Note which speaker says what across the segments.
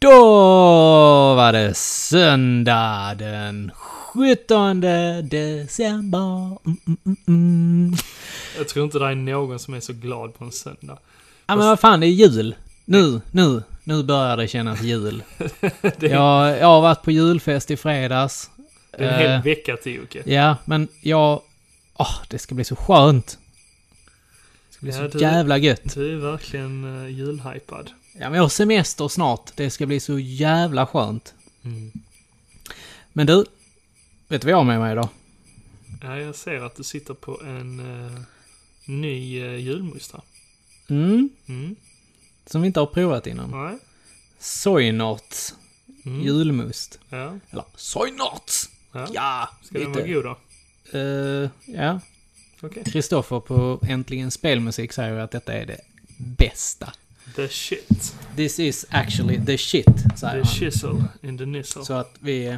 Speaker 1: Då var det söndag den 17 december. Mm, mm, mm.
Speaker 2: Jag tror inte det är någon som är så glad på en söndag.
Speaker 1: Ja men vad fan, det är jul. Nu, nu, nu börjar det kännas jul.
Speaker 2: Det är,
Speaker 1: Jag, jag har varit på julfest i fredags.
Speaker 2: det är en hel
Speaker 1: eh,
Speaker 2: vecka till Jocke.
Speaker 1: Ja, men jag... Åh, det ska bli så skönt. Det ska bli
Speaker 2: Ja,
Speaker 1: så
Speaker 2: du-
Speaker 1: jävla gött.
Speaker 2: Du är verkligen uh, julhypad.
Speaker 1: Ja, men jag har semester snart. Det ska bli så jävla skönt. Mm. Men du, vet du vad jag har med mig idag?
Speaker 2: Ja, jag ser att du sitter på en eh, ny uh, julmusta.
Speaker 1: Mm,
Speaker 2: Mm.
Speaker 1: som vi inte har provat innan.
Speaker 2: Nej.
Speaker 1: Sojnorts
Speaker 2: Mm.
Speaker 1: julmust.
Speaker 2: Ja.
Speaker 1: Eller sojnorts!
Speaker 2: ja.
Speaker 1: Ja,
Speaker 2: Ska den vara god då?
Speaker 1: Eh, ja,
Speaker 2: Okej.
Speaker 1: Kristoffer på Äntligen Spelmusik säger ju att detta är det bästa.
Speaker 2: The shit.
Speaker 1: This is actually the shit, säger
Speaker 2: The
Speaker 1: han.
Speaker 2: shizzle in the nizzle.
Speaker 1: Så att vi...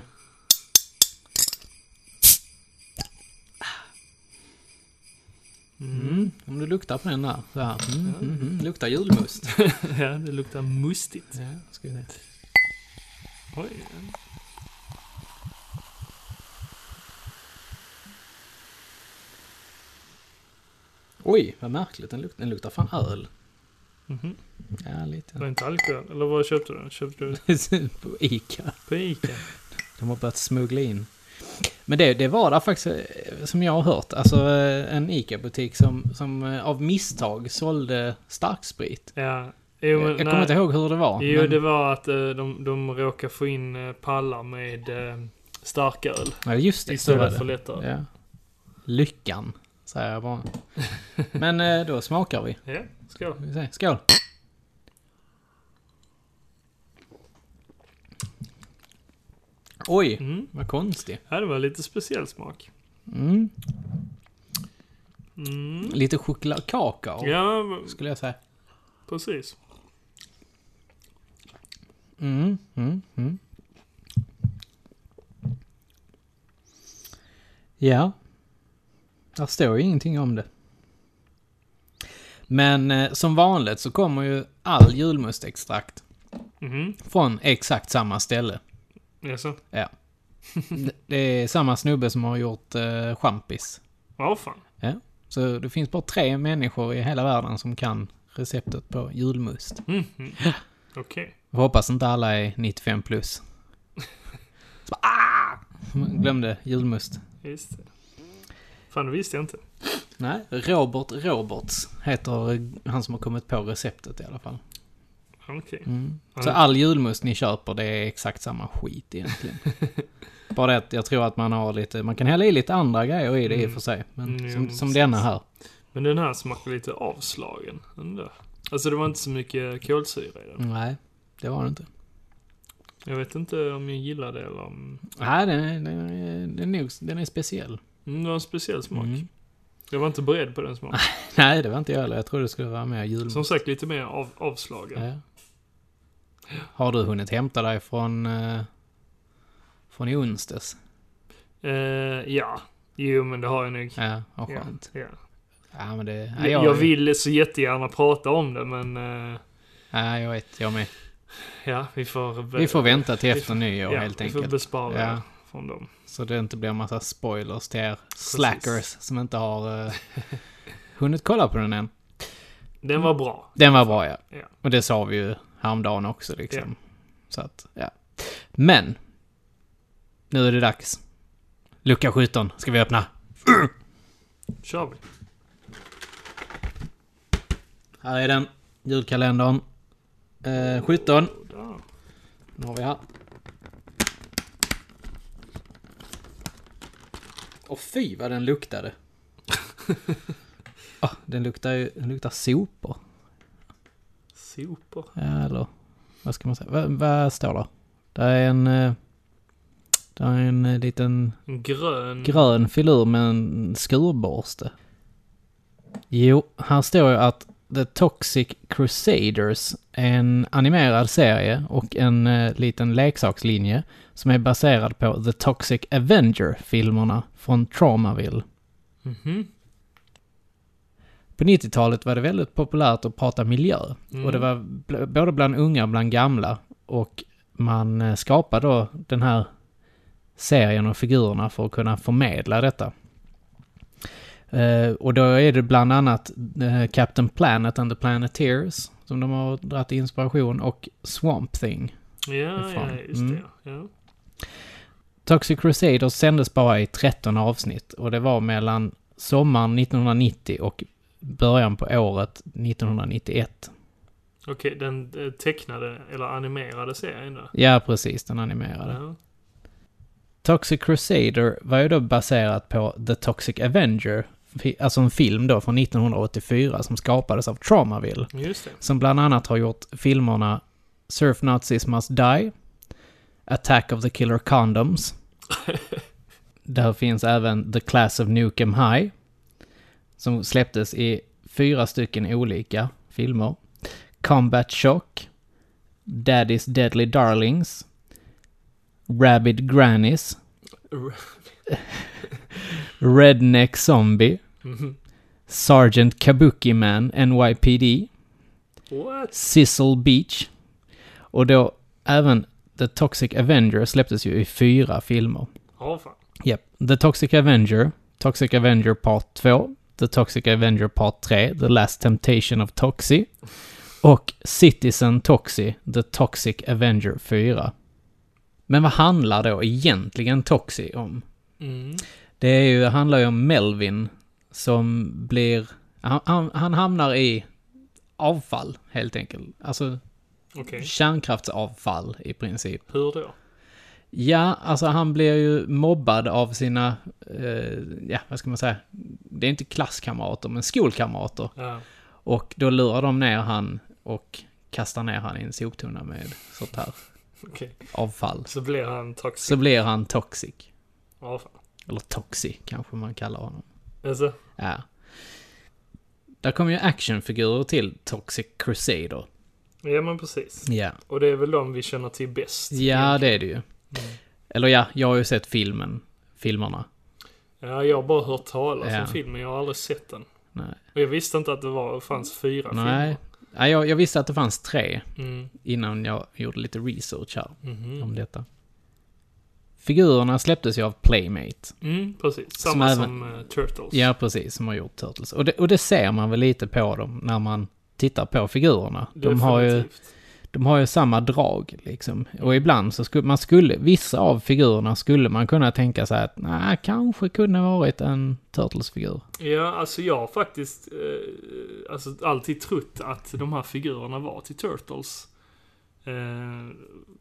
Speaker 1: Mm, om du luktar på den där. Så här. Mm, mm, mm, luktar julmust.
Speaker 2: ja, det luktar mustigt.
Speaker 1: Ja, ska vi se.
Speaker 2: Oj.
Speaker 1: Oj, vad märkligt. Den luktar, den luktar fan öl.
Speaker 2: Mhm.
Speaker 1: Ja,
Speaker 2: Det var
Speaker 1: lite.
Speaker 2: inte alkohol. Eller vad köpte du den? Köpte du
Speaker 1: på Ica.
Speaker 2: på Ica?
Speaker 1: De har börjat smuggla in. Men det, det var där faktiskt, eh, som jag har hört, alltså eh, en Ica-butik som, som eh, av misstag sålde starksprit.
Speaker 2: Ja. Jo, men,
Speaker 1: Eh, jag kommer inte ihåg hur det var.
Speaker 2: Jo,
Speaker 1: men-
Speaker 2: det var att eh, de, de råkade få in eh, pallar med eh, starköl
Speaker 1: Ja, just det. Så var
Speaker 2: istället
Speaker 1: det.
Speaker 2: för lättare.
Speaker 1: Ja. Lyckan, säger jag bara. Men eh, då smakar vi.
Speaker 2: Ja, skål.
Speaker 1: Ska vi se. Skål! Oj,
Speaker 2: Mm.
Speaker 1: vad konstig.
Speaker 2: Ja, det var lite speciell smak.
Speaker 1: Mm.
Speaker 2: Mm.
Speaker 1: Lite chokladkakao,
Speaker 2: Ja, men-
Speaker 1: skulle jag säga.
Speaker 2: precis.
Speaker 1: Mm, mm, mm. Ja. Där står ju ingenting om det. Men eh, som vanligt så kommer ju all julmustextrakt
Speaker 2: Mhm.
Speaker 1: från exakt samma ställe.
Speaker 2: Jaså?
Speaker 1: D- Det är samma snubbe som har gjort eh, champis.
Speaker 2: Ja, fan.
Speaker 1: Så det finns bara tre människor i hela världen som kan receptet på julmust.
Speaker 2: Mhm. Okej.
Speaker 1: Jag hoppas inte alla är 95 plus. Så bara, ah! Glömde julmust.
Speaker 2: Just det. Fan, det visste jag inte.
Speaker 1: Nej, Robert Roberts heter han som har kommit på receptet i alla fall.
Speaker 2: Okej.
Speaker 1: Mm.
Speaker 2: Ja,
Speaker 1: Så
Speaker 2: det-
Speaker 1: all julmust ni köper, det är exakt samma skit egentligen. Bara det att jag tror att man har lite, man kan hälla i lite andra grejer i det i och för sig. Men
Speaker 2: Mm, jo,
Speaker 1: som,
Speaker 2: men
Speaker 1: som
Speaker 2: precis.
Speaker 1: denna här.
Speaker 2: Men den här smakar lite avslagen ändå. Alltså det var inte så mycket kolsyra i den.
Speaker 1: Nej, det var det inte.
Speaker 2: Jag vet inte om jag gillar det eller om...
Speaker 1: Nej, den är, den är, den är, nog- den är speciell.
Speaker 2: Mm, Det var en speciell smak.
Speaker 1: Mm.
Speaker 2: Jag var inte beredd på den smaken.
Speaker 1: Nej, det var inte jag heller. Jag trodde det skulle vara mer julmust.
Speaker 2: Som sagt, lite mer av, avslagen.
Speaker 1: Ja. Har du hunnit hämta dig från, eh, från i onsdags?
Speaker 2: Eh, ja. Jo, men det har jag nog.
Speaker 1: Ja, vad
Speaker 2: Ja,
Speaker 1: skönt.
Speaker 2: ja.
Speaker 1: Ja, men det... Ja,
Speaker 2: Jag, jag vill så jättegärna prata om det, men... eh,
Speaker 1: Ja, jag vet. Jag med.
Speaker 2: ja, vi får... be-
Speaker 1: Vi får vänta till
Speaker 2: vi
Speaker 1: efter nyår
Speaker 2: ja,
Speaker 1: helt
Speaker 2: Vi får
Speaker 1: enkelt.
Speaker 2: bespara
Speaker 1: Ja.
Speaker 2: från dem.
Speaker 1: Så det inte blir en massa spoilers till er slackers som inte har eh, hunnit kolla på den än.
Speaker 2: Den var bra.
Speaker 1: Den var bra ja.
Speaker 2: Ja.
Speaker 1: Och det sa vi ju häromdagen också liksom. Så att, ja. Men. Nu är det dags. Lucka 17 ska vi öppna.
Speaker 2: kör vi.
Speaker 1: Här är den. Julkalendern. Eh, 17.
Speaker 2: Där.
Speaker 1: Nu har vi här. Och fy vad den luktade. ah, den luktar ju, den luktar sopor.
Speaker 2: Sopor.
Speaker 1: Ja, eller vad ska man säga? Vad, vad står det? Det är en... eh, Det är en eh, liten
Speaker 2: En grön...
Speaker 1: grön filur med en skurborste. Jo, här står ju att The Toxic Crusaders är en animerad serie och en eh, liten leksakslinje som är baserad på The Toxic Avenger-filmerna från Traumaville.
Speaker 2: Mhm.
Speaker 1: På 90-talet var det väldigt populärt att prata miljö.
Speaker 2: Mm.
Speaker 1: Och det var bl- både bland unga och bland gamla. Och man eh, skapar då den här serien och figurerna för att kunna förmedla detta. Eh, och då är det bland annat eh, Captain Planet and the Planeteers som de har dragit inspiration och Swamp Thing.
Speaker 2: Ja, ja,
Speaker 1: Fan.
Speaker 2: just det.
Speaker 1: Mm.
Speaker 2: Ja.
Speaker 1: Toxic Crusaders sändes bara i 13 avsnitt och det var mellan sommaren 1990 och början på året 1991.
Speaker 2: Okej, den eh, tecknade eller animerade serien då?
Speaker 1: Ja, precis, den animerade.
Speaker 2: Ja.
Speaker 1: Toxic Crusader var ju då baserat på The Toxic Avenger, fi- alltså en film då från 1984 som skapades av Traumaville,
Speaker 2: Just det.
Speaker 1: som bland annat har gjort filmerna Surf Nazis Must Die, Attack of the Killer Condoms, där finns även The Class of Nukem High, som släpptes i fyra stycken olika filmer, Combat Shock, Daddy's Deadly Darlings, Rabid Grannies, Redneck Zombie,
Speaker 2: Mhm.
Speaker 1: Sergeant Kabuki Man, NYPD,
Speaker 2: What?
Speaker 1: Sizzle Beach och då även The Toxic Avenger släpptes ju i fyra filmer.
Speaker 2: Ja, fan.
Speaker 1: Yep. The Toxic Avenger, Toxic Avenger Part 2, The Toxic Avenger Part 3, The Last Temptation of Toxi och Citizen Toxi, The Toxic Avenger 4. Men vad handlar då egentligen Toxi om?
Speaker 2: Mm.
Speaker 1: Det är ju, handlar ju om Melvin som blir... Han, han, han hamnar i avfall, helt enkelt. Alltså
Speaker 2: Okej.
Speaker 1: kärnkraftsavfall i princip.
Speaker 2: Hur då?
Speaker 1: Ja, alltså han blir ju mobbad av sina, eh, ja vad ska man säga, det är inte klasskamrater men skolkamrater.
Speaker 2: Ja.
Speaker 1: Och då lurar de ner han och kastar ner han i en soptunna med sånt här
Speaker 2: Okej.
Speaker 1: avfall.
Speaker 2: Så blir han toxic.
Speaker 1: Så blir han toxic.
Speaker 2: Ja, fan.
Speaker 1: Eller toxic kanske man kallar honom.
Speaker 2: Alltså,
Speaker 1: Ja. Där kommer ju actionfigurer till Toxic Crusader.
Speaker 2: ja, men precis.
Speaker 1: Ja.
Speaker 2: Och det är väl de vi känner till bäst.
Speaker 1: Ja, det är det ju.
Speaker 2: Mm.
Speaker 1: Eller ja, jag har ju sett filmen. Filmerna.
Speaker 2: Ja, jag har bara hört talas
Speaker 1: Ja.
Speaker 2: om filmen. Jag har aldrig sett den.
Speaker 1: Nej.
Speaker 2: Och jag visste inte att det var, fanns fyra
Speaker 1: Nej. Nej, jag, jag visste att det fanns tre
Speaker 2: filmer. Mm.
Speaker 1: innan jag gjorde lite research här om
Speaker 2: Mhm.
Speaker 1: detta. Figurerna släpptes ju av Playmate.
Speaker 2: Mm, precis.
Speaker 1: Som
Speaker 2: Samma
Speaker 1: även-
Speaker 2: som, eh, Turtles.
Speaker 1: Ja, precis, som har gjort Turtles. Och det, och det ser man väl lite på dem när man tittar på figurerna. De har ju...
Speaker 2: Definitivt.
Speaker 1: de har ju samma drag liksom. Och ibland så skulle man skulle, vissa av figurerna skulle man kunna tänka sig att nej, kanske kunde varit en Turtles-figur.
Speaker 2: Ja, alltså jag har faktiskt eh, alltså, alltid trott att de här figurerna var till Turtles. Eh,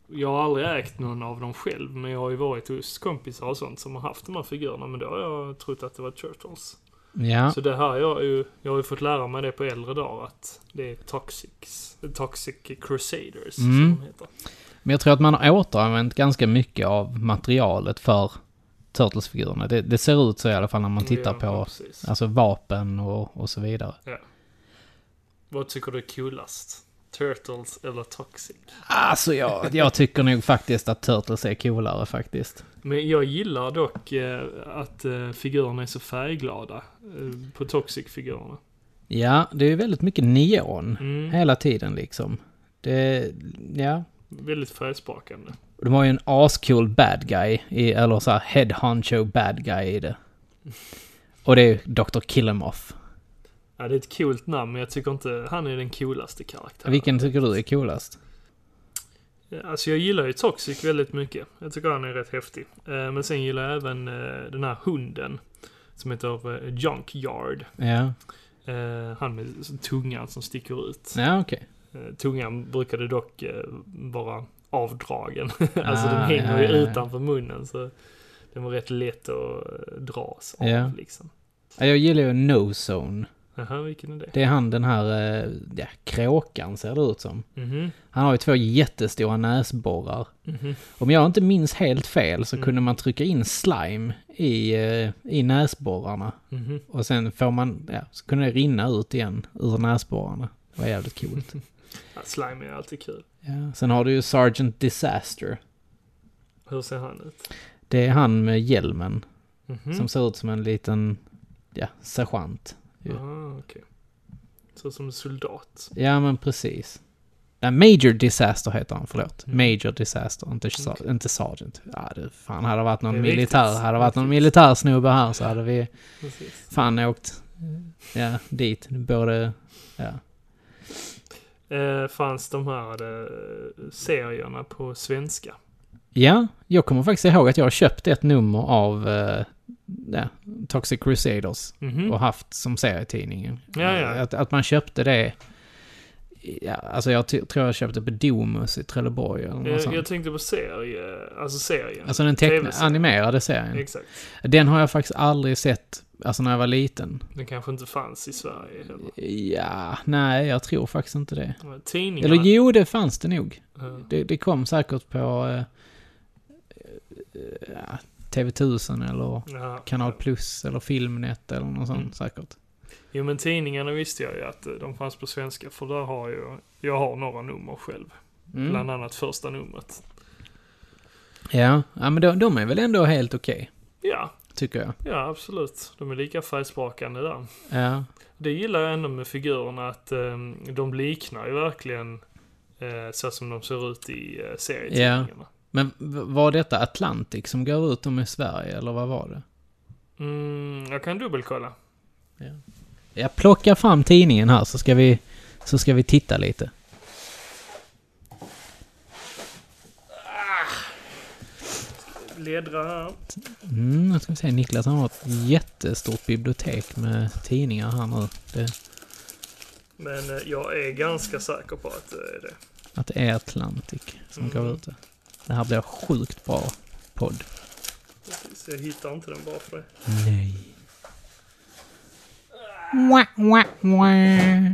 Speaker 2: jag har aldrig ägt någon av dem själv, men jag har ju varit hos kompisar och sånt som har haft de här figurerna, men då har jag trott att det var Turtles.
Speaker 1: Ja,
Speaker 2: Så det här har jag ju, jag har ju fått lära mig det på äldre dagar att det är Toxics, Toxic Crusaders
Speaker 1: Mm.
Speaker 2: som de heter.
Speaker 1: men jag tror att man har återanvänt ganska mycket av materialet för Turtles-figurerna. Det, det ser ut så i alla fall när man tittar
Speaker 2: Ja,
Speaker 1: på
Speaker 2: precis.
Speaker 1: alltså vapen och, och så vidare.
Speaker 2: Vad tycker du är coolast? Turtles eller Toxic?
Speaker 1: Alltså jag, jag tycker nog faktiskt att Turtles är coolare faktiskt.
Speaker 2: Men jag gillar dock eh, att eh, figurerna är så färgglada eh, på Toxic-figurerna.
Speaker 1: Ja, det är ju väldigt mycket neon
Speaker 2: Mm.
Speaker 1: hela tiden liksom. Det, ja,
Speaker 2: Väldigt färgsprakande.
Speaker 1: Och De har ju en ascool bad guy, i, eller så här head honcho bad guy i det. Och det är ju Dr. Killemoff.
Speaker 2: Ja, det är ett coolt namn, men jag tycker inte han är den coolaste karaktären.
Speaker 1: Vilken tycker du är coolast?
Speaker 2: Ja, Alltså jag gillar ju Toxic väldigt mycket. Jag tycker han är rätt häftig. Eh, Men sen gillar jag även eh, den här hunden. Som heter eh, Junkyard.
Speaker 1: Ja,
Speaker 2: Eh, Han med tungan som sticker ut.
Speaker 1: ja okej.
Speaker 2: Eh, Tungan brukade dock eh, vara avdragen. alltså
Speaker 1: Ah,
Speaker 2: den hänger
Speaker 1: ja,
Speaker 2: ju
Speaker 1: ja, ja.
Speaker 2: utanför munnen så den var rätt lätt att eh, dras av
Speaker 1: Ja.
Speaker 2: liksom.
Speaker 1: Ja, Jag gillar ju No Zone.
Speaker 2: Jaha, vilken är det?
Speaker 1: Det är han den här, eh, ja, kråkan ser det ut som.
Speaker 2: Mhm.
Speaker 1: Han har ju två jättestora näsborrar.
Speaker 2: Mhm.
Speaker 1: Om jag inte minns helt fel så
Speaker 2: Mm.
Speaker 1: kunde man trycka in slime i, eh, i näsborrarna.
Speaker 2: Mhm.
Speaker 1: Och sen får man, ja, så kunde det rinna ut igen ur näsborrarna. Det var jävligt coolt.
Speaker 2: Ja, slime är alltid kul.
Speaker 1: Ja. Sen har du ju Sergeant Disaster.
Speaker 2: Hur ser han ut?
Speaker 1: Det är han med hjälmen
Speaker 2: Mhm.
Speaker 1: som ser ut som en liten, ja, sergeant.
Speaker 2: Ah, okej. Så som soldat.
Speaker 1: Ja, men precis. Nej, Nej, Major Disaster heter han, förlåt.
Speaker 2: Mm.
Speaker 1: Major Disaster, inte, sa-
Speaker 2: Okej.
Speaker 1: inte Sergeant. Ja, det, fan, hade det varit
Speaker 2: Det
Speaker 1: någon
Speaker 2: är riktigt.
Speaker 1: militär, hade det varit någon
Speaker 2: Riktigt.
Speaker 1: militärsnubbe här så hade vi
Speaker 2: Precis.
Speaker 1: fan åkt ja, dit. Både, ja.
Speaker 2: Eh, fanns de här eh, serierna på svenska?
Speaker 1: Ja, jag kommer faktiskt ihåg att jag har köpt ett nummer av eh, ja, Toxic Crusaders
Speaker 2: Mhm.
Speaker 1: och haft som serietidningen.
Speaker 2: Ja, ja.
Speaker 1: Att, att man köpte det. Ja, alltså jag ty- tror jag köpte på Domus i Trelleborg eller något
Speaker 2: Jag,
Speaker 1: sånt.
Speaker 2: Eh, jag tänkte på serie, alltså serien.
Speaker 1: Alltså den teckna,
Speaker 2: TV-serien.
Speaker 1: animerade serien.
Speaker 2: Exakt.
Speaker 1: Den har jag faktiskt aldrig sett, alltså när jag var liten.
Speaker 2: Den kanske inte fanns i Sverige heller.
Speaker 1: Ja, nej, jag tror faktiskt inte det.
Speaker 2: Eh, Tidningarna.
Speaker 1: Eller jo, det fanns det nog.
Speaker 2: Eh,
Speaker 1: Det, det kom säkert på eh, eh, ja, TV1000 eller
Speaker 2: ja.
Speaker 1: Kanal Plus eller Filmnet eller något sånt
Speaker 2: Mm.
Speaker 1: säkert.
Speaker 2: Jo men tidningarna visste jag ju att eh, de fanns på svenska för där har jag, jag har några nummer själv. Bland
Speaker 1: Mm.
Speaker 2: annat första numret.
Speaker 1: Ja, ja, men de, de är väl ändå helt okej,
Speaker 2: Ja,
Speaker 1: tycker jag.
Speaker 2: ja absolut. De är lika färgsprakande där.
Speaker 1: Ja,
Speaker 2: Det gillar jag ändå med figurerna att eh, de liknar ju verkligen eh, så som de ser ut i eh, serietidningarna.
Speaker 1: men v- var detta Atlantic som går ut om i Sverige, eller vad var det?
Speaker 2: Mm, jag kan dubbelkolla.
Speaker 1: Jag plockar fram tidningen här så ska vi, så ska vi titta lite.
Speaker 2: Ledra här.
Speaker 1: Mm, nu ska vi se. Niklas han har ett jättestort bibliotek med tidningar här nu. Det,
Speaker 2: Men eh, jag är ganska säker på att det är det.
Speaker 1: att det är Atlantic som
Speaker 2: Mm.
Speaker 1: går ut. det. Det här blir sjukt bra podd.
Speaker 2: Precis, Jag hittar inte den bara för det.
Speaker 1: Nej. Wah, wah, wah.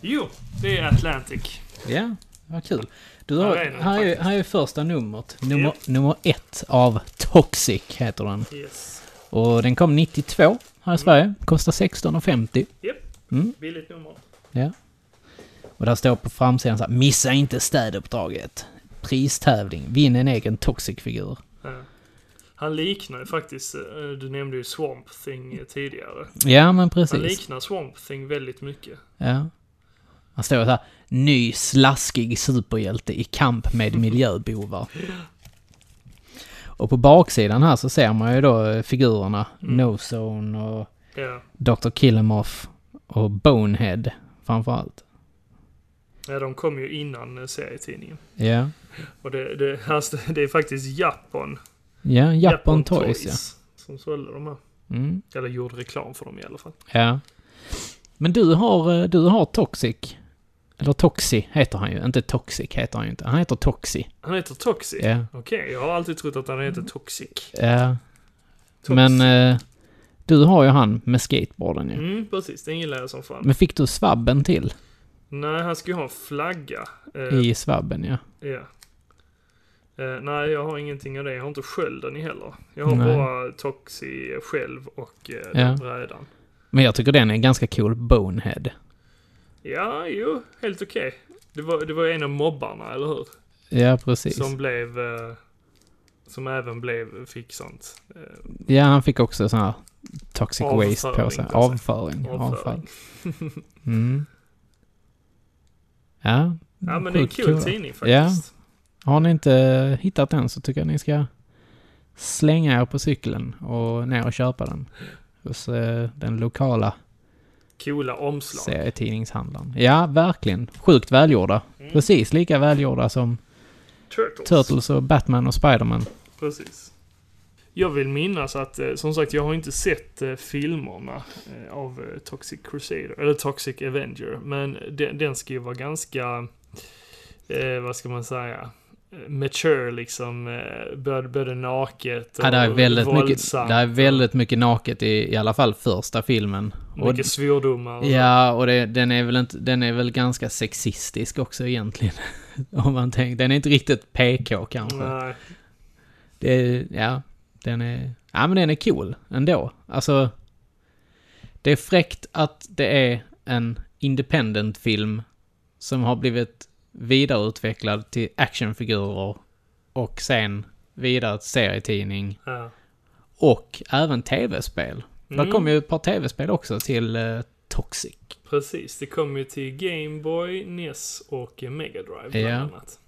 Speaker 2: Jo, det är Atlantic.
Speaker 1: Ja, vad kul. Du har,
Speaker 2: Ja, det är det
Speaker 1: här, är,
Speaker 2: faktiskt.
Speaker 1: här är första numret. Nummer,
Speaker 2: Ja.
Speaker 1: nummer ett av Toxic heter den.
Speaker 2: Yes.
Speaker 1: Och den kom 92 här
Speaker 2: Mm.
Speaker 1: i Sverige. Kostar 16,50.
Speaker 2: Japp.
Speaker 1: Mm.
Speaker 2: Billigt nummer.
Speaker 1: Ja. Och där står på framsidan så här, missa inte städuppdraget. Pristävling, vinn en egen toxic-figur.
Speaker 2: Ja. Han liknar ju faktiskt, eh, du nämnde ju Swamp Thing eh, tidigare.
Speaker 1: Ja, men
Speaker 2: Han
Speaker 1: precis.
Speaker 2: liknar Swamp Thing väldigt mycket.
Speaker 1: Ja. Han står så här, ny slaskig superhjälte i kamp med miljöbovar. Och på baksidan här så ser man ju då eh, figurerna
Speaker 2: Mm.
Speaker 1: Nozone och
Speaker 2: Ja.
Speaker 1: Dr. Killemoff och Bonehead framförallt.
Speaker 2: ja, de kom ju innan eh, serietidningen.
Speaker 1: Ja.
Speaker 2: Och det, det, här st- det är faktiskt Japan.
Speaker 1: Ja, Japan Toys,
Speaker 2: Som sålde de här.
Speaker 1: ja. Mm.
Speaker 2: Eller gjorde reklam för dem i alla fall.
Speaker 1: Ja. Men du har, eh, du har Toxic. Eller Toxi heter han ju. Inte Toxic heter han ju inte. Han heter Toxi.
Speaker 2: Han heter Toxic.
Speaker 1: Ja.
Speaker 2: Okej, jag har alltid trott att han heter Toxic.
Speaker 1: ja.
Speaker 2: Toxic.
Speaker 1: Men eh, du har ju han med skateboarden ju.
Speaker 2: Mm, precis. Den gillar jag som fan.
Speaker 1: Men fick du svabben till?
Speaker 2: Nej, han ska ju ha en flagga. Eh,
Speaker 1: I svabben, ja.
Speaker 2: Ja. Eh, nej, jag har ingenting av det. Jag har inte skölden i heller. Jag har
Speaker 1: Nej.
Speaker 2: bara Toxi själv och eh,
Speaker 1: Ja.
Speaker 2: den brädan.
Speaker 1: Men jag tycker den är ganska cool. Bonehead.
Speaker 2: Ja, jo, helt okej. Det, var, det var en av mobbarna, eller hur?
Speaker 1: Ja, precis.
Speaker 2: Som blev... Eh, som även blev, fick sånt. Eh,
Speaker 1: Ja, han fick också sån här toxic
Speaker 2: Avföring,
Speaker 1: waste på sig.
Speaker 2: kan jag
Speaker 1: Avföring. Avfall.
Speaker 2: avföring.
Speaker 1: Mm. Ja.
Speaker 2: Ja, men det är en
Speaker 1: sjukt
Speaker 2: kul
Speaker 1: coola.
Speaker 2: tidning faktiskt.
Speaker 1: Har ni inte hittat den så tycker jag ni ska slänga er på cykeln och ner och köpa den. Hos eh, den lokala
Speaker 2: Coola omslag.
Speaker 1: serietidningshandlaren. Ja, verkligen. Sjukt välgjorda.
Speaker 2: Mm.
Speaker 1: Precis lika välgjorda som
Speaker 2: Turtles.
Speaker 1: Turtles och Batman och Spiderman.
Speaker 2: Precis. Jag vill minnas att, eh, som sagt, jag har inte sett eh, filmerna eh, av eh, Toxic Crusader, eller Toxic Avenger, men den, den ska ju vara ganska, eh, vad ska man säga, eh, mature liksom, eh, både, både naket och
Speaker 1: Ja, det är väldigt mycket,
Speaker 2: våldsamt.
Speaker 1: det är väldigt mycket naket i, i alla fall första filmen.
Speaker 2: och mycket svordomar. och-
Speaker 1: Ja, och det, den, är väl inte, den är väl ganska sexistisk också egentligen. Om man tänker. Den är inte riktigt PK kanske.
Speaker 2: Nej,
Speaker 1: Det är, ja, den är... Ja, men den är cool ändå. Alltså... Det är fräckt att det är en independent-film som har blivit vidareutvecklad till actionfigurer och sen vidare till serietidning
Speaker 2: ja.
Speaker 1: och även tv-spel. För
Speaker 2: Mm,
Speaker 1: Det kom ju ett par tv-spel också till eh, Toxic.
Speaker 2: Precis, det kom ju till Game Boy, NES och eh, Mega Drive bland
Speaker 1: Ja.
Speaker 2: annat.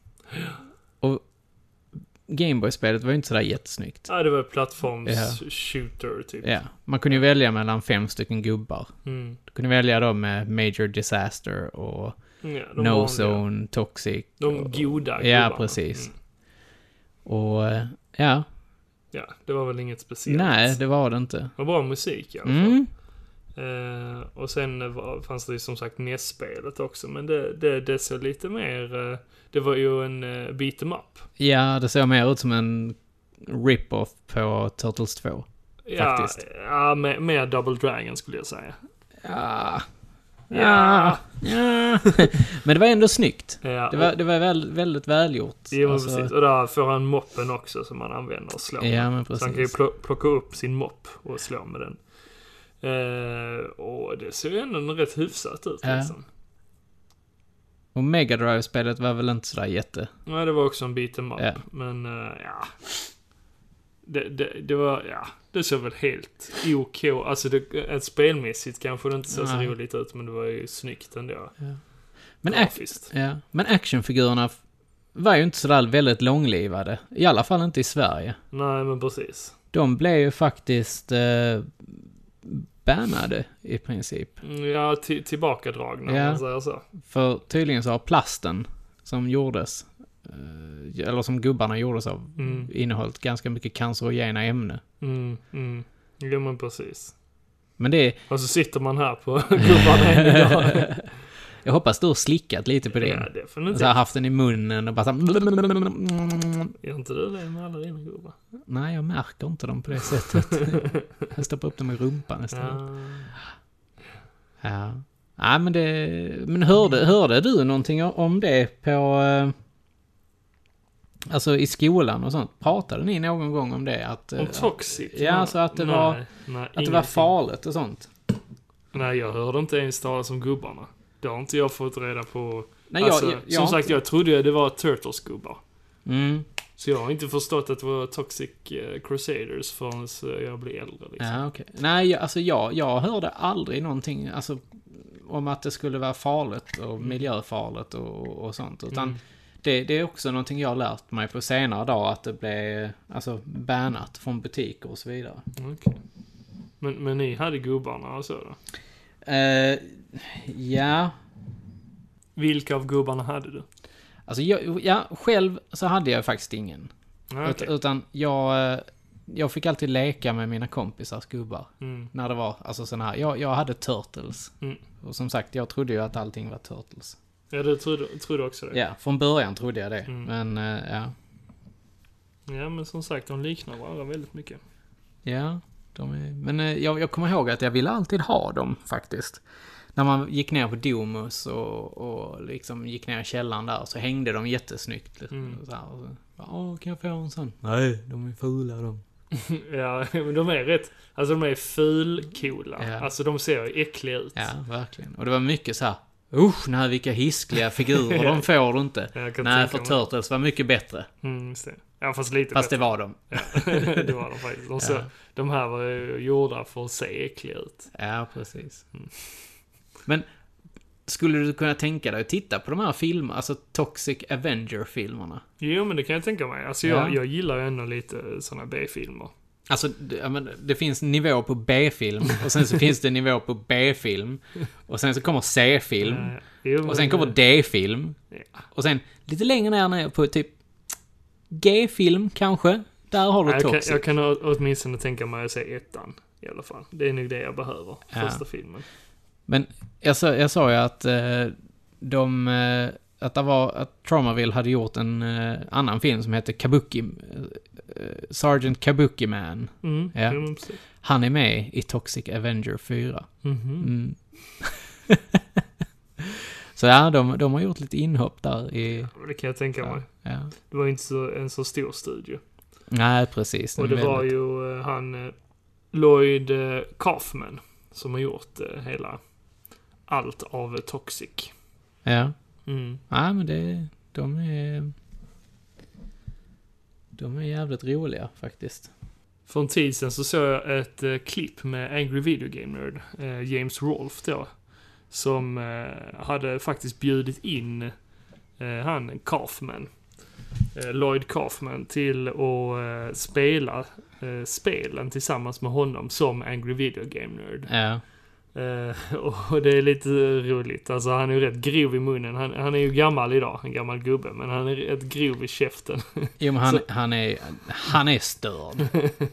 Speaker 1: Gameboy-spelet var ju inte sådär jättesnyggt.
Speaker 2: Ja, det var plattforms
Speaker 1: Ja.
Speaker 2: shooter typ.
Speaker 1: Ja, man kunde ju välja mellan fem stycken gubbar.
Speaker 2: Mm.
Speaker 1: Du kunde välja då med Major Disaster och
Speaker 2: Ja, de
Speaker 1: No
Speaker 2: vanliga.
Speaker 1: Zone, Toxic.
Speaker 2: De
Speaker 1: och,
Speaker 2: goda
Speaker 1: Ja,
Speaker 2: gubbarna.
Speaker 1: precis.
Speaker 2: Mm.
Speaker 1: och eh, ja,
Speaker 2: Ja, det var väl inget speciellt.
Speaker 1: nej,
Speaker 2: det
Speaker 1: det var det inte.
Speaker 2: var bra musik i alla fall.
Speaker 1: Mm,
Speaker 2: Eh, och sen var, fanns det ju som sagt NES-spelet också, men det, det, det såg lite mer... eh, det var ju en uh, beat em up.
Speaker 1: ja, det såg mer ut som en rip-off på Turtles 2.
Speaker 2: Ja,
Speaker 1: Faktiskt.
Speaker 2: Ja, mer, mer Double Dragon skulle jag säga.
Speaker 1: Ja,
Speaker 2: Ja.
Speaker 1: ja, ja. Men det var ändå snyggt.
Speaker 2: Ja,
Speaker 1: Det var, det var väl, väldigt välgjort.
Speaker 2: Jo, men
Speaker 1: Alltså,
Speaker 2: precis. Och där får han moppen också som han använder och slår med.
Speaker 1: Ja, men
Speaker 2: Så han kan ju
Speaker 1: precis.
Speaker 2: plo- plocka upp sin mopp och slå med den. Eh, och det ser ju ändå rätt hyfsat ut
Speaker 1: Ja.
Speaker 2: liksom.
Speaker 1: Och Mega Drive-spelet var väl inte sådär jätte...
Speaker 2: Nej, det var också en beat em up.
Speaker 1: Ja.
Speaker 2: Men eh, ja. Det, det, det var, ja. Det såg väl helt OK. Alltså det, ett spelmässigt kanske det inte såg så
Speaker 1: Nej.
Speaker 2: roligt ut, men det var ju snyggt ändå.
Speaker 1: Men, ac-
Speaker 2: grafiskt.
Speaker 1: ja. men actionfigurerna f- var ju inte sådär väldigt långlivade. I alla fall inte i Sverige.
Speaker 2: Nej, men precis.
Speaker 1: De blev ju faktiskt eh, bannade i princip.
Speaker 2: Mm, Ja, ti- tillbakadragna
Speaker 1: Ja.
Speaker 2: om man säger så.
Speaker 1: För tydligen så har plasten som gjordes, eh, eller som gubbarna gjordes av,
Speaker 2: Mm.
Speaker 1: innehållit ganska mycket cancerogena ämnen.
Speaker 2: Mm, mm. Jo, men precis.
Speaker 1: Men det...
Speaker 2: Och så sitter man här på gubbarna än idag.
Speaker 1: Jag hoppas du har slickat lite på det.
Speaker 2: Ja, definitivt.
Speaker 1: Så här, haft den i munnen och bara så här...
Speaker 2: Gör inte du det med alla dina gubbar?
Speaker 1: Nej, jag märker inte dem på det sättet. jag stoppar upp dem i rumpan istället.
Speaker 2: Ja.
Speaker 1: Ja. ja. men det... Men hörde, hörde du någonting om det på... eh, Alltså i skolan och sånt? Pratade ni någon gång om det? Att, eh,
Speaker 2: Om toxic?
Speaker 1: Ja,
Speaker 2: Nej,
Speaker 1: så att det
Speaker 2: nej,
Speaker 1: var-
Speaker 2: nej,
Speaker 1: att det
Speaker 2: ingenting.
Speaker 1: var farligt och sånt?
Speaker 2: Nej, jag hörde inte ens talas om gubbarna. Det har inte jag fått reda på.
Speaker 1: Nej,
Speaker 2: alltså,
Speaker 1: jag, jag, jag...
Speaker 2: som sagt, jag trodde ju det var Turtles-gubbar.
Speaker 1: Mm.
Speaker 2: Så jag har inte förstått att det var Toxic eh, Crusaders förrän eh, jag blev äldre. Liksom.
Speaker 1: Ja, okej. Nej, jag, alltså jag, jag hörde aldrig någonting alltså, om att det skulle vara farligt och miljöfarligt och, och sånt. Utan
Speaker 2: Mm.
Speaker 1: det, det är också någonting jag har lärt mig på senare dag att det blev alltså, bannat från butiker och så vidare.
Speaker 2: Okej. Men, men ni hade gubbarna och så då?
Speaker 1: Eh, ja,
Speaker 2: Vilka av gubbarna hade du?
Speaker 1: alltså jag, ja, själv så hade jag faktiskt ingen.
Speaker 2: Ah,
Speaker 1: Ut,
Speaker 2: okej.
Speaker 1: utan jag, eh, jag fick alltid leka med mina kompisars gubbar.
Speaker 2: Mm.
Speaker 1: När det var alltså sån här, jag, jag hade Turtles.
Speaker 2: Mm.
Speaker 1: Och som sagt, jag trodde ju att allting var Turtles.
Speaker 2: Ja, du trodde, trodde också det?
Speaker 1: Ja, från början trodde jag det.
Speaker 2: Eh. Mm.
Speaker 1: Men eh, ja.
Speaker 2: Ja, men som sagt, de liknar varandra väldigt mycket.
Speaker 1: Ja, de är... men eh, jag, jag kommer ihåg att jag ville alltid ha dem faktiskt. När man gick ner på Domus och, och liksom gick ner i källaren där så hängde de jättesnyggt. Liksom,
Speaker 2: Mm.
Speaker 1: så här, och så, bara, Åh, kan jag få en sån? Nej, de är fula de.
Speaker 2: ja, men de är rätt... Alltså de är fulcoola.
Speaker 1: Ja.
Speaker 2: Alltså de ser ju äckliga ut.
Speaker 1: Ja, verkligen. Och det var mycket så här, usch, nej vilka hiskliga figurer, de får du inte.
Speaker 2: Jag kan
Speaker 1: Nej, för
Speaker 2: tänka mig.
Speaker 1: Turtles var mycket bättre.
Speaker 2: Mm, just det. Ja, fast lite
Speaker 1: Fast det
Speaker 2: bättre.
Speaker 1: var de.
Speaker 2: Det... det var de faktiskt. De, så,
Speaker 1: Ja.
Speaker 2: de här var ju gjorda för att se äckliga ut.
Speaker 1: Ja, precis. Mm. Men skulle du kunna tänka dig att titta på de här filmerna, alltså Toxic Avenger-filmerna?
Speaker 2: Jo, men det kan jag tänka mig. Alltså
Speaker 1: Ja.
Speaker 2: jag, jag gillar ju ändå lite sådana B-filmer.
Speaker 1: Alltså, det, ja, men det finns nivå på B-film och sen så finns det nivå på B-film och sen så kommer C-film
Speaker 2: Eh, jo, men-
Speaker 1: och sen kommer D-film
Speaker 2: Ja.
Speaker 1: och sen lite längre ner, ner på typ G-film kanske. Där har du
Speaker 2: jag, kan,
Speaker 1: Toxic.
Speaker 2: jag kan å- åtminstone tänka mig att se ettan. I alla fall. Det är nog det jag behöver.
Speaker 1: Ja.
Speaker 2: Första filmen.
Speaker 1: Men jag sa, jag sa ju att eh, de... Eh, att det var... Att Traumaville hade gjort en eh, annan film som hette Kabuki... Eh, eh, Sergeant Kabuki Man.
Speaker 2: Mm,
Speaker 1: Ja.
Speaker 2: jo, men precis.
Speaker 1: Han är med i Toxic Avenger 4.
Speaker 2: Mhm.
Speaker 1: Mm. så ja, de, de har gjort lite inhopp där i...
Speaker 2: Det kan jag tänka mig.
Speaker 1: Ja.
Speaker 2: Det var ju inte så, en så stor studio.
Speaker 1: Nej, precis.
Speaker 2: Och det var ju eh, han eh, Lloyd eh, Kaufman som har gjort eh, hela allt av eh, Toxic.
Speaker 1: Ja.
Speaker 2: Mm.
Speaker 1: Nej, men det... De är... De är jävligt roliga faktiskt.
Speaker 2: För en tid sedan så såg jag ett eh, klipp med Angry Video Game Nerd, eh, James Rolfe då. Som eh, hade faktiskt bjudit in eh, han Kaufman, eh, Lloyd Kaufman, till att eh, spela eh, spelen tillsammans med honom som Angry Video Game Nerd.
Speaker 1: Ja.
Speaker 2: Eh, och det är lite roligt. Alltså han är ju rätt grov i munnen. Han, han är ju gammal idag, en gammal gubbe, men han är rätt grov i käften.
Speaker 1: Jo, men han, han, är, han är störd.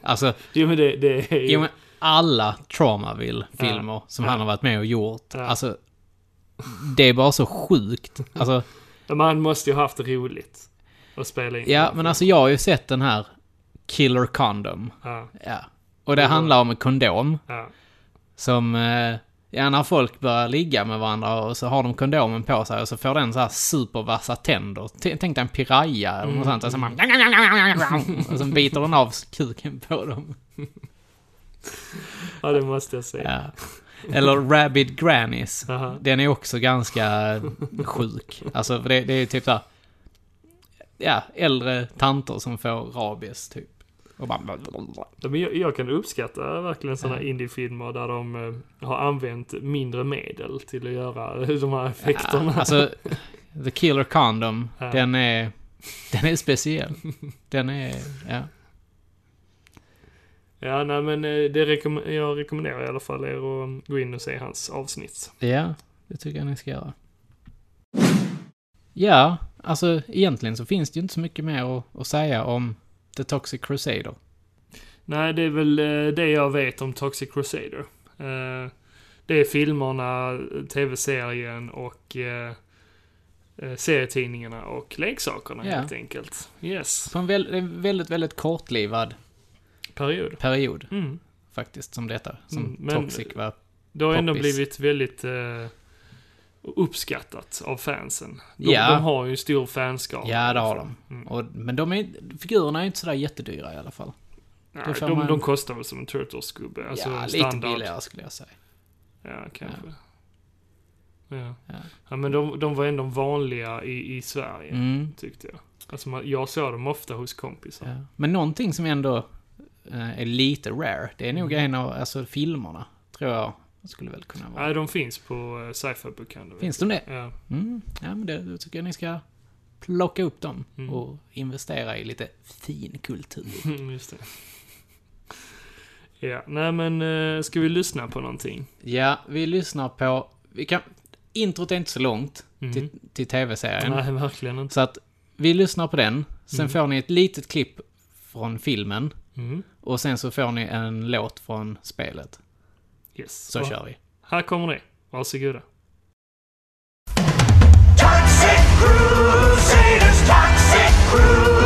Speaker 1: Alltså,
Speaker 2: jo men det, det är ju...
Speaker 1: jo, men alla Traumaville-filmer som han har varit med och gjort.
Speaker 2: Ja.
Speaker 1: Alltså, det är bara så sjukt. Alltså,
Speaker 2: Ja, Men han måste ju ha haft roligt att spela in.
Speaker 1: ja, men alltså jag har ju sett den här Killer Condom.
Speaker 2: Ja,
Speaker 1: Ja. Och det handlar om en kondom
Speaker 2: ja,
Speaker 1: som... eh, Ja, när folk börjar ligga med varandra och så har de kondomen på sig och så får den så här supervassa tänder. T- Tänk dig en piraya eller något sånt. Och så, man, och så biter den av kuken på dem.
Speaker 2: ja, det måste jag säga.
Speaker 1: Ja. Eller Rabid Grannies.
Speaker 2: Aha.
Speaker 1: Den är också ganska sjuk. Alltså, för det, det är ju typ så här, Ja, äldre tanter som får rabies, typ. Och bara...
Speaker 2: Ja, men jag, jag kan uppskatta verkligen sådana
Speaker 1: Ja.
Speaker 2: indiefilmer där de eh, har använt mindre medel till att göra de här effekterna.
Speaker 1: Ja, alltså, The Killer Condom,
Speaker 2: Ja.
Speaker 1: den är... Den är speciell. Den är... Ja.
Speaker 2: Ja, nej, men eh, det rekomm jag rekommenderar i alla fall er att gå in och se hans avsnitt.
Speaker 1: Ja, det tycker jag ni ska göra. Ja, alltså egentligen så finns det ju inte så mycket mer att, att säga om The Toxic Crusader.
Speaker 2: Nej, det är väl eh, det jag vet om Toxic Crusader. Eh, Det är filmerna, tv-serien och eh, eh, serietidningarna och leksakerna
Speaker 1: Ja.
Speaker 2: helt enkelt. Yes,
Speaker 1: På en väl, en väldigt, väldigt kortlivad
Speaker 2: period.
Speaker 1: period
Speaker 2: Mm.
Speaker 1: faktiskt som detta, som
Speaker 2: Mm, men-
Speaker 1: Toxic var.
Speaker 2: Det har ändå
Speaker 1: Poppis.
Speaker 2: blivit väldigt eh, uppskattat av fansen. De,
Speaker 1: Ja.
Speaker 2: de har ju en stor fanskara.
Speaker 1: Ja, det har de.
Speaker 2: Mm.
Speaker 1: Och, men de är, figurerna är inte sådär jättedyra i alla fall.
Speaker 2: Nej,
Speaker 1: Det får
Speaker 2: de,
Speaker 1: man-
Speaker 2: de kostar väl som en Turtles-gubbe. Alltså
Speaker 1: ja, lite
Speaker 2: standard.
Speaker 1: billigare skulle jag säga.
Speaker 2: Ja, kanske. Ja. Ja.
Speaker 1: Ja.
Speaker 2: men de, de var ändå vanliga i, i Sverige,
Speaker 1: Mm.
Speaker 2: tyckte jag. Alltså man, jag såg dem ofta hos kompisar.
Speaker 1: Ja. Men någonting som ändå eh, är lite rare, det är nog en av alltså, filmerna, tror jag skulle väl kunna vara.
Speaker 2: Nej, de finns på uh, sci-fi bokhandeln.
Speaker 1: Finns de det?
Speaker 2: Ja.
Speaker 1: Mm. Ja, men det, då tycker jag ni ska plocka upp dem
Speaker 2: Mm.
Speaker 1: och investera i lite fin kultur.
Speaker 2: Just det. Ja, nej men eh, ska vi lyssna på någonting?
Speaker 1: Ja, vi lyssnar på... Vi kan, introt är inte så långt
Speaker 2: Mm.
Speaker 1: till, till tv-serien.
Speaker 2: Nej, verkligen inte.
Speaker 1: Så att vi lyssnar på den, sen
Speaker 2: Mm.
Speaker 1: får ni ett litet klipp från filmen
Speaker 2: Mm.
Speaker 1: och sen så får ni en låt från spelet.
Speaker 2: Yes.
Speaker 1: Så
Speaker 2: Och
Speaker 1: kör vi.
Speaker 2: Här kommer det. Varsågoda.
Speaker 3: Toxic Crusaders, Toxic Crusaders.